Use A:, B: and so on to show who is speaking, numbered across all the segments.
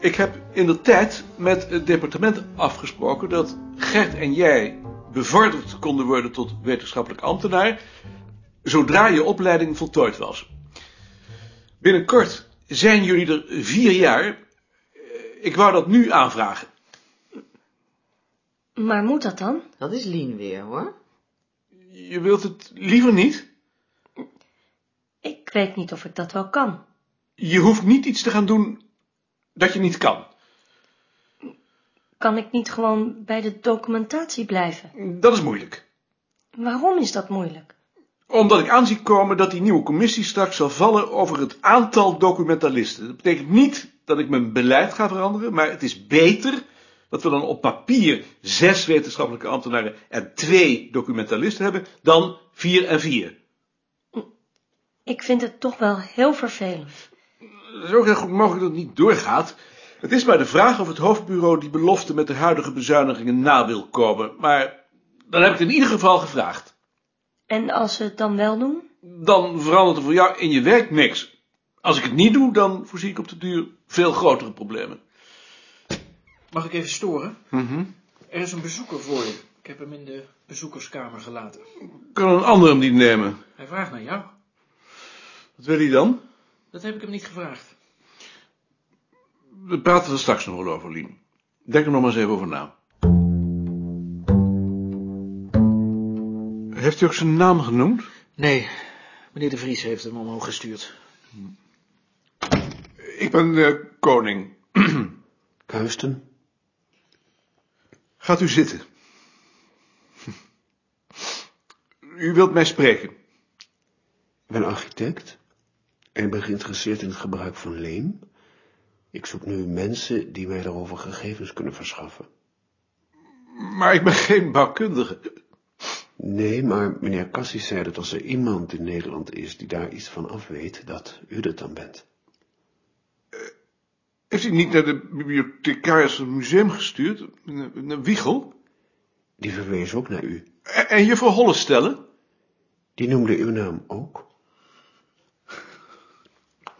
A: Ik heb in de tijd met het departement afgesproken dat Gert en jij bevorderd konden worden tot wetenschappelijk ambtenaar, zodra je opleiding voltooid was. Binnenkort zijn jullie er vier jaar. Ik wou dat nu aanvragen.
B: Maar moet dat dan?
C: Dat is Lien weer, hoor.
A: Je wilt het liever niet?
B: Ik weet niet of ik dat wel kan.
A: Je hoeft niet iets te gaan doen dat je niet kan.
B: Kan ik niet gewoon bij de documentatie blijven?
A: Dat is moeilijk.
B: Waarom is dat moeilijk?
A: Omdat ik aanzie komen dat die nieuwe commissie straks zal vallen over het aantal documentalisten. Dat betekent niet dat ik mijn beleid ga veranderen, maar het is beter dat we dan op papier zes wetenschappelijke ambtenaren en twee documentalisten hebben, dan vier en vier.
B: Ik vind het toch wel heel vervelend.
A: Het is ook heel goed mogelijk dat het niet doorgaat. Het is maar de vraag of het hoofdbureau die belofte met de huidige bezuinigingen na wil komen. Maar dan heb ik het in ieder geval gevraagd.
B: En als ze het dan wel doen?
A: Dan verandert er voor jou in je werk niks. Als ik het niet doe, dan voorzie ik op de duur veel grotere problemen.
D: Mag ik even storen?
A: Mhm.
D: Er is een bezoeker voor je. Ik heb hem in de bezoekerskamer gelaten.
A: Kan een ander hem niet nemen?
D: Hij vraagt naar jou.
A: Wat wil hij dan?
D: Dat heb ik hem niet gevraagd.
A: We praten er straks nog wel over, Lien. Denk er nog maar eens even over na. Heeft u ook zijn naam genoemd?
D: Nee, meneer de Vries heeft hem omhoog gestuurd.
A: Ik ben de koning.
E: Kuisten?
A: Gaat u zitten. U wilt mij spreken.
E: Ik ben architect en ik ben geïnteresseerd in het gebruik van leem. Ik zoek nu mensen die mij daarover gegevens kunnen verschaffen.
A: Maar ik ben geen bouwkundige.
E: Nee, maar meneer Cassis zei dat als er iemand in Nederland is die daar iets van af weet, dat u dat dan bent.
A: Heeft u niet naar de bibliothecaris van het museum gestuurd? Naar naar Wiegel?
E: Die verwees ook naar u.
A: En, en juffrouw Hollestellen?
E: Die noemde uw naam ook.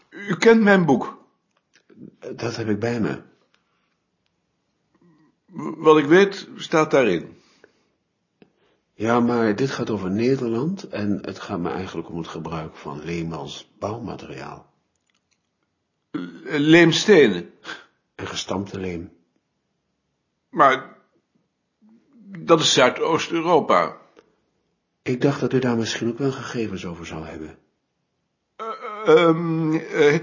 A: U kent mijn boek.
E: Dat heb ik bij me.
A: Wat ik weet, staat daarin.
E: Ja, maar dit gaat over Nederland en het gaat me eigenlijk om het gebruik van leem als bouwmateriaal.
A: Leemstenen.
E: En gestampte leem.
A: Maar dat is Zuidoost-Europa.
E: Ik dacht dat u daar misschien ook wel gegevens over zou hebben.
A: Ehm, eh, eh,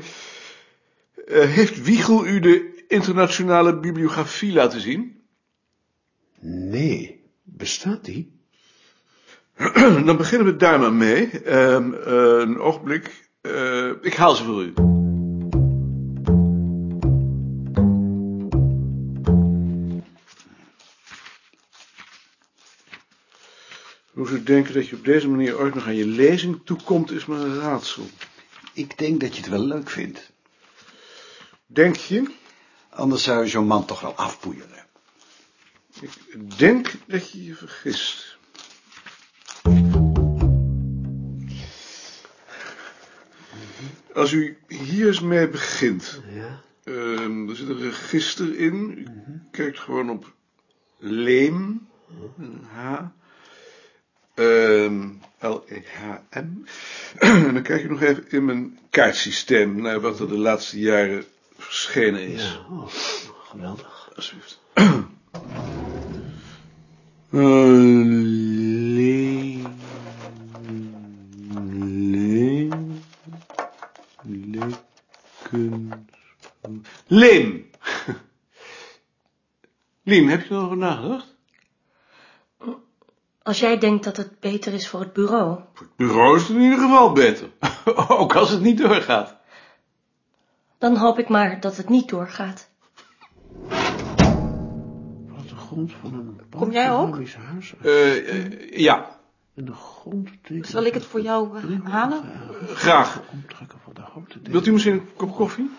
A: heeft Wiegel u de internationale bibliografie laten zien?
E: Nee, bestaat die?
A: Nou, Dan beginnen we daar maar mee. Ehm, eh, een ogenblik. Eh, ik haal ze voor u. Hoe ze denken dat je op deze manier ooit nog aan je lezing toekomt, is me een raadsel.
F: Ik denk dat je het wel leuk vindt.
A: Denk je?
F: Anders zou je zo'n man toch wel afpoeieren.
A: Ik denk dat je je vergist. Als u hier eens mee begint,
E: Ja.
A: ehm, er zit een register in. U kijkt gewoon op leem, een H, ehm, L-E-H-M. en dan kijk ik nog even in mijn kaartsysteem naar wat er de laatste jaren verschenen is.
E: Ja, oh, geweldig.
A: Alsjeblieft. Leem. Leem. Lekken. Leem. Leem, heb je erover nagedacht?
B: Als jij denkt dat het beter is voor het bureau,
A: Voor het bureau is het in ieder geval beter. Ook als het niet doorgaat.
B: dan hoop ik maar dat het niet doorgaat.
E: Plattegrond van een
G: Kom jij ook?
E: Pannonisch huis.
A: Eh, eh, ja,
E: En de grond...
G: Zal ik het voor jou eh, halen?
A: graag.
E: Omtrekken van de houten...
A: Wilt u misschien een kop koffie?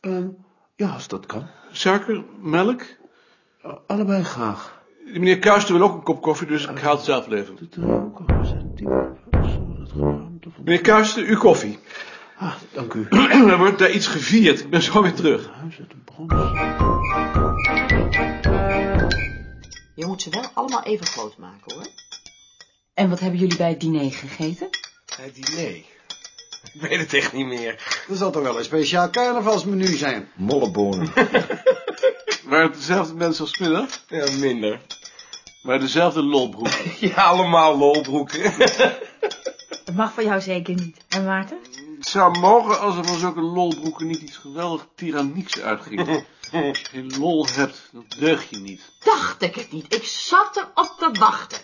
E: Ehm, ja, als dat kan.
A: Suiker? Melk?
E: Eh, allebei graag.
A: Meneer Kuister wil ook een kop koffie, dus ik ga het zelf leveren.
E: Dit er ook al zijn dingen. Zo, dat ruimte van...
A: Meneer Kuister, uw koffie.
E: Ah, dank u.
A: Er wordt daar iets gevierd. Ik ben zo weer terug.
E: Huis uit de bron.
G: Je moet ze wel allemaal even groot maken, hoor.
C: En wat hebben jullie bij het diner gegeten?
F: Het diner. Ik weet het echt niet meer. Er zal toch wel een speciaal carnavalsmenu zijn?
H: Mollebonen.
A: Waren het dezelfde mensen als middag?
H: Ja, minder.
A: Maar dezelfde lolbroeken.
H: Ja, allemaal lolbroeken.
C: Dat mag van jou zeker niet. En Maarten?
A: Het zou mogen als er van zulke lolbroeken niet iets geweldig tyrannieks uitging. Als je geen lol hebt, dan deug je niet.
G: Dacht ik het niet. Ik zat erop te wachten.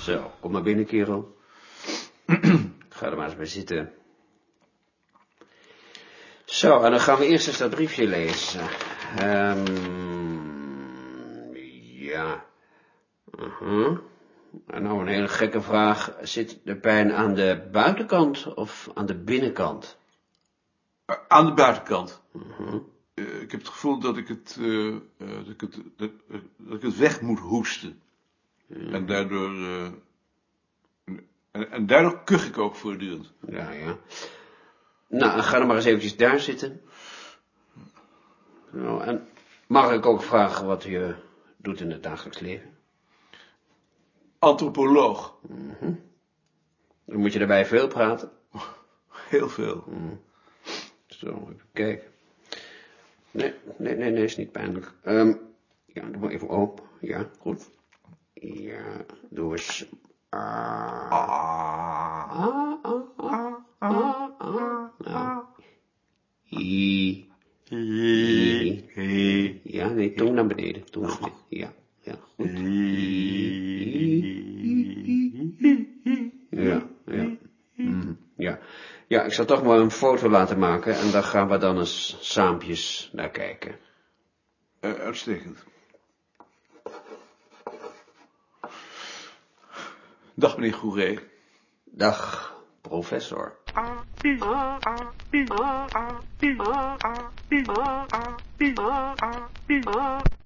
E: Zo, kom maar binnen, kerel. Ga er maar eens bij zitten. Zo, en dan gaan we eerst eens dat briefje lezen. Ehm ja. Mhm. En nou een hele gekke vraag. Zit de pijn aan de buitenkant of aan de binnenkant?
A: Aan de buitenkant. Eh, ik heb het gevoel dat ik het, eh, eh, dat ik het, dat, eh, dat ik het weg moet hoesten. En daardoor... eh, en, en daardoor kuch ik ook voortdurend.
E: Ja, ja. Nou, dan ga dan maar eens eventjes daar zitten. Nou, en mag ik ook vragen wat je doet in het dagelijks leven?
A: Antropoloog.
E: Dan moet je daarbij veel praten.
A: Heel veel.
E: Zo, even kijken. Nee, nee, nee, nee, is niet pijnlijk. Ehm ja, doe maar even open. Ja, goed. Ja, doe eens. Ah. Ah, ah, ah, ah, ah. Nou. I. I. Ja, nee, tong naar beneden. Tong naar beneden.
F: Oh.
E: Ja, ja, goed. Ja, ja.
F: Mm.
E: Ja. ja, ik zal toch maar een foto laten maken en daar gaan we dan eens saampjes naar kijken.
A: Eh, uitstekend. Dag meneer Goeree.
E: Dag, professor.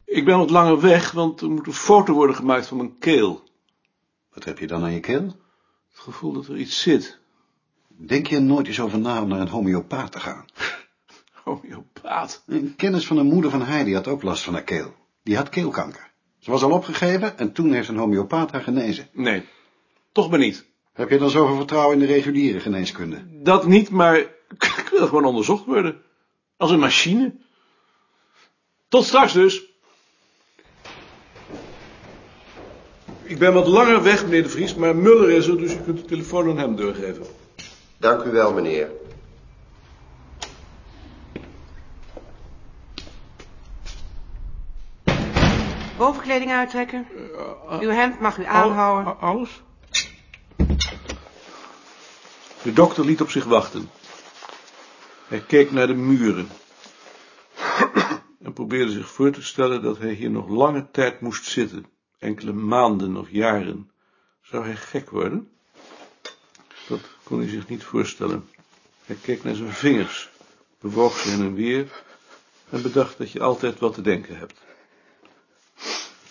A: Ik ben wat langer weg, want er moet een foto worden gemaakt van mijn keel.
F: Wat heb je dan aan je keel?
A: Het gevoel dat er iets zit.
F: Denk je er nooit eens over na om naar een homeopaat te gaan?
A: Homeopaat.
F: Een kennis van een moeder van Heidi had ook last van haar keel. Die had keelkanker. Ze was al opgegeven en toen heeft een homeopaat haar genezen.
A: Nee, toch maar niet.
F: Heb je dan zoveel vertrouwen in de reguliere geneeskunde?
A: Dat niet, maar ik wil gewoon onderzocht worden. Als een machine. Tot straks dus. Ik ben wat langer weg, meneer de Vries, maar Muller is er, dus u kunt de telefoon aan hem doorgeven.
I: Dank u wel, meneer.
J: Bovenkleding uittrekken.
A: Eh, ah,
J: Uw hemd mag u aanhouden.
A: Al- al- alles? De dokter liet op zich wachten. Hij keek naar de muren. En probeerde zich voor te stellen dat hij hier nog lange tijd moest zitten. Enkele maanden of jaren. Zou hij gek worden? Dat kon hij zich niet voorstellen. Hij keek naar zijn vingers, bewoog ze heen en weer en bedacht dat je altijd wat te denken hebt.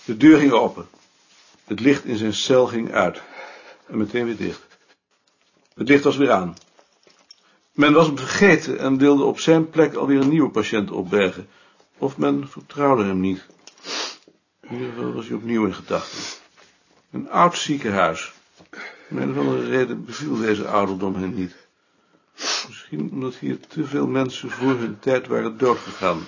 A: De deur ging open. Het licht in zijn cel ging uit. En meteen weer dicht. Het licht was weer aan. Men was hem vergeten en wilde op zijn plek alweer een nieuwe patiënt opbergen. Of men vertrouwde hem niet. In ieder geval was hij opnieuw in gedachten. Een oud ziekenhuis. Om een of andere reden beviel deze ouderdom hem niet. Misschien omdat hier te veel mensen voor hun tijd waren doodgegaan.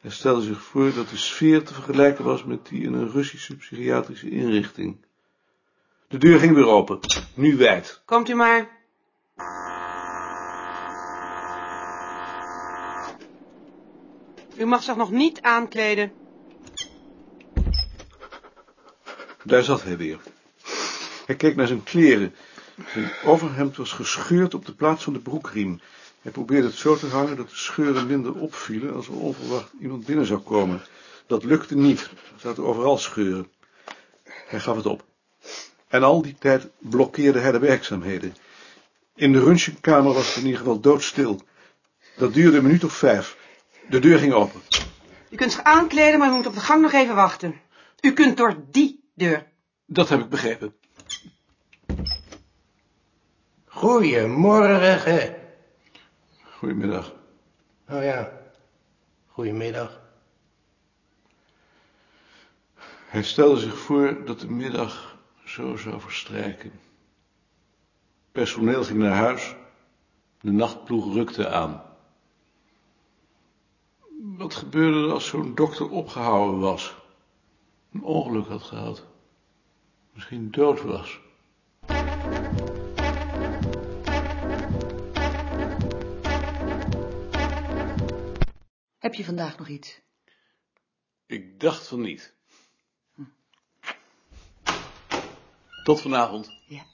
A: Hij stelde zich voor dat de sfeer te vergelijken was met die in een Russische psychiatrische inrichting. De deur ging weer open, nu wijd.
J: Komt u maar. U mag zich nog niet aankleden.
A: Daar zat hij weer. Hij keek naar zijn kleren. Zijn overhemd was gescheurd op de plaats van de broekriem. Hij probeerde het zo te hangen dat de scheuren minder opvielen als er onverwacht iemand binnen zou komen. Dat lukte niet. Er zaten overal scheuren. Hij gaf het op. En al die tijd blokkeerde hij de werkzaamheden. In de röntgenkamer was het in ieder geval doodstil. Dat duurde een minuut of vijf. De deur ging open.
J: U kunt zich aankleden, maar u moet op de gang nog even wachten. U kunt door die deur.
A: Dat heb ik begrepen.
K: Goedemorgen.
A: Goedemiddag.
K: Oh ja, goedemiddag.
A: Hij stelde zich voor dat de middag zo zou verstrijken. Personeel ging naar huis. De nachtploeg rukte aan. Wat gebeurde er als zo'n dokter opgehouden was? Een ongeluk had gehad. Misschien dood was.
G: Heb je vandaag nog iets?
A: Ik dacht van niet. Tot vanavond.
G: Ja.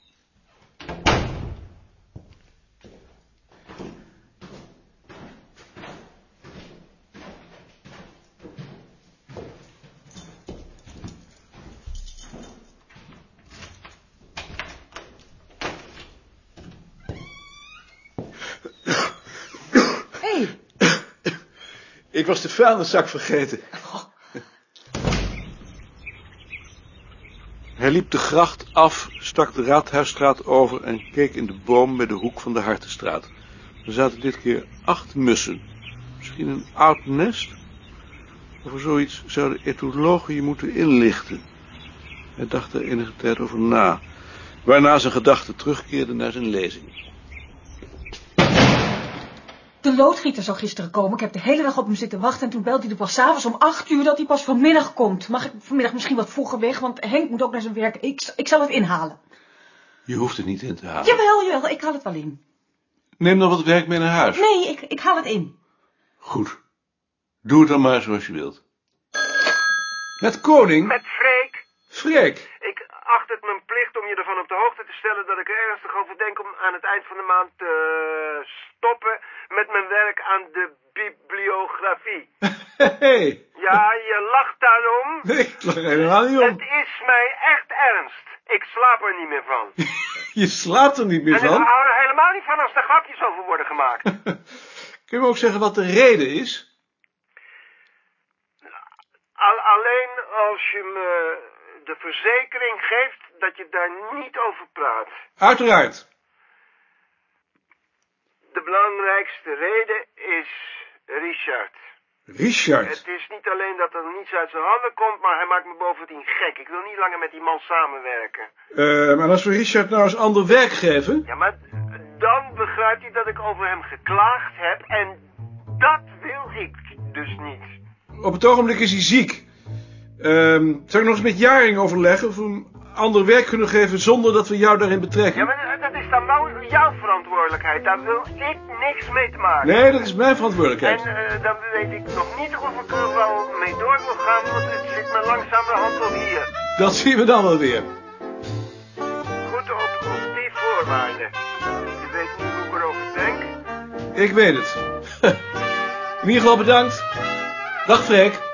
J: Hé,
A: Ik was de vuilniszak vergeten. Hij liep de gracht af, stak de Raadhuisstraat over en keek in de boom bij de hoek van de Hartenstraat. Er zaten dit keer acht mussen. Misschien een oud nest? Over zoiets zouden etologen je moeten inlichten. Hij dacht er enige tijd over na, waarna zijn gedachten terugkeerden naar zijn lezing.
C: De loodgieter zou gisteren komen. Ik heb de hele dag op hem zitten wachten. En toen belt hij er pas avonds om acht uur dat hij pas vanmiddag komt. Mag ik vanmiddag misschien wat vroeger weg? Want Henk moet ook naar zijn werk. Ik, ik zal het inhalen.
A: Je hoeft het niet in te halen.
C: Jawel, jawel. Ik haal het wel in.
A: Neem dan wat werk mee naar huis.
C: Nee, ik, ik haal het in.
A: Goed. Doe het dan maar zoals je wilt. Met koning?
L: Met Freek.
A: Freek.
L: Ik acht het mijn plicht om je ervan op de hoogte te stellen dat ik er ernstig over denk om aan het eind van de maand te stoppen met mijn werk aan de bibliografie.
A: Hey.
L: Ja, je lacht daarom.
A: Nee, ik lag helemaal niet om.
L: Het is mij echt ernst. Ik slaap er niet meer van.
A: Je slaapt er niet meer
L: en ik
A: van.
L: hou er helemaal niet van als er grapjes over worden gemaakt.
A: Kun je me ook zeggen wat de reden is?
L: Al- alleen als je me de verzekering geeft dat je daar niet over praat.
A: Uiteraard.
L: De belangrijkste reden is Richard.
A: Richard.
L: Het is niet alleen dat er niets uit zijn handen komt, maar hij maakt me bovendien gek. Ik wil niet langer met die man samenwerken.
A: Eh, maar als we Richard nou eens ander werk geven...
L: Ja, maar dan begrijpt hij dat ik over hem geklaagd heb en dat wil ik dus niet.
A: Op het ogenblik is hij ziek. Ehm zou ik nog eens met Jaring overleggen of we hem ander werk kunnen geven zonder dat we jou daarin
L: Ja,
A: betrekken?
L: maar dat is dan wel jouw verantwoordelijkheid. Daar wil ik niks mee te maken.
A: Nee, dat is mijn verantwoordelijkheid.
L: En eh, dan weet ik nog niet of ik er wel mee door wil gaan, want het zit me langzamerhand tot hier.
A: Dat zien we dan wel weer.
L: Goed op, op die voorwaarden. Je weet nu hoe ik erover denk.
A: Ik weet het. In ieder geval bedankt. Dag Freek.